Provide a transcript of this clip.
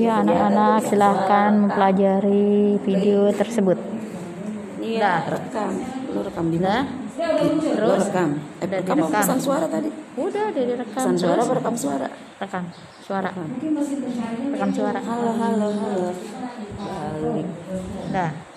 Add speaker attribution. Speaker 1: Ya, anak-anak silahkan mempelajari video tersebut.
Speaker 2: Iya,
Speaker 1: Dah.
Speaker 2: rekam. Lu rekam di mana?
Speaker 1: Udah,
Speaker 2: Lu
Speaker 1: terus
Speaker 2: rekam. Eh,
Speaker 1: Udah
Speaker 2: kamu
Speaker 1: direkam.
Speaker 2: pesan suara tadi.
Speaker 1: udah udah direkam
Speaker 2: Pesan suara
Speaker 1: terus
Speaker 2: apa rekam suara?
Speaker 1: rekam suara, rekam suara.
Speaker 2: Halo, halo, halo.
Speaker 1: Dah.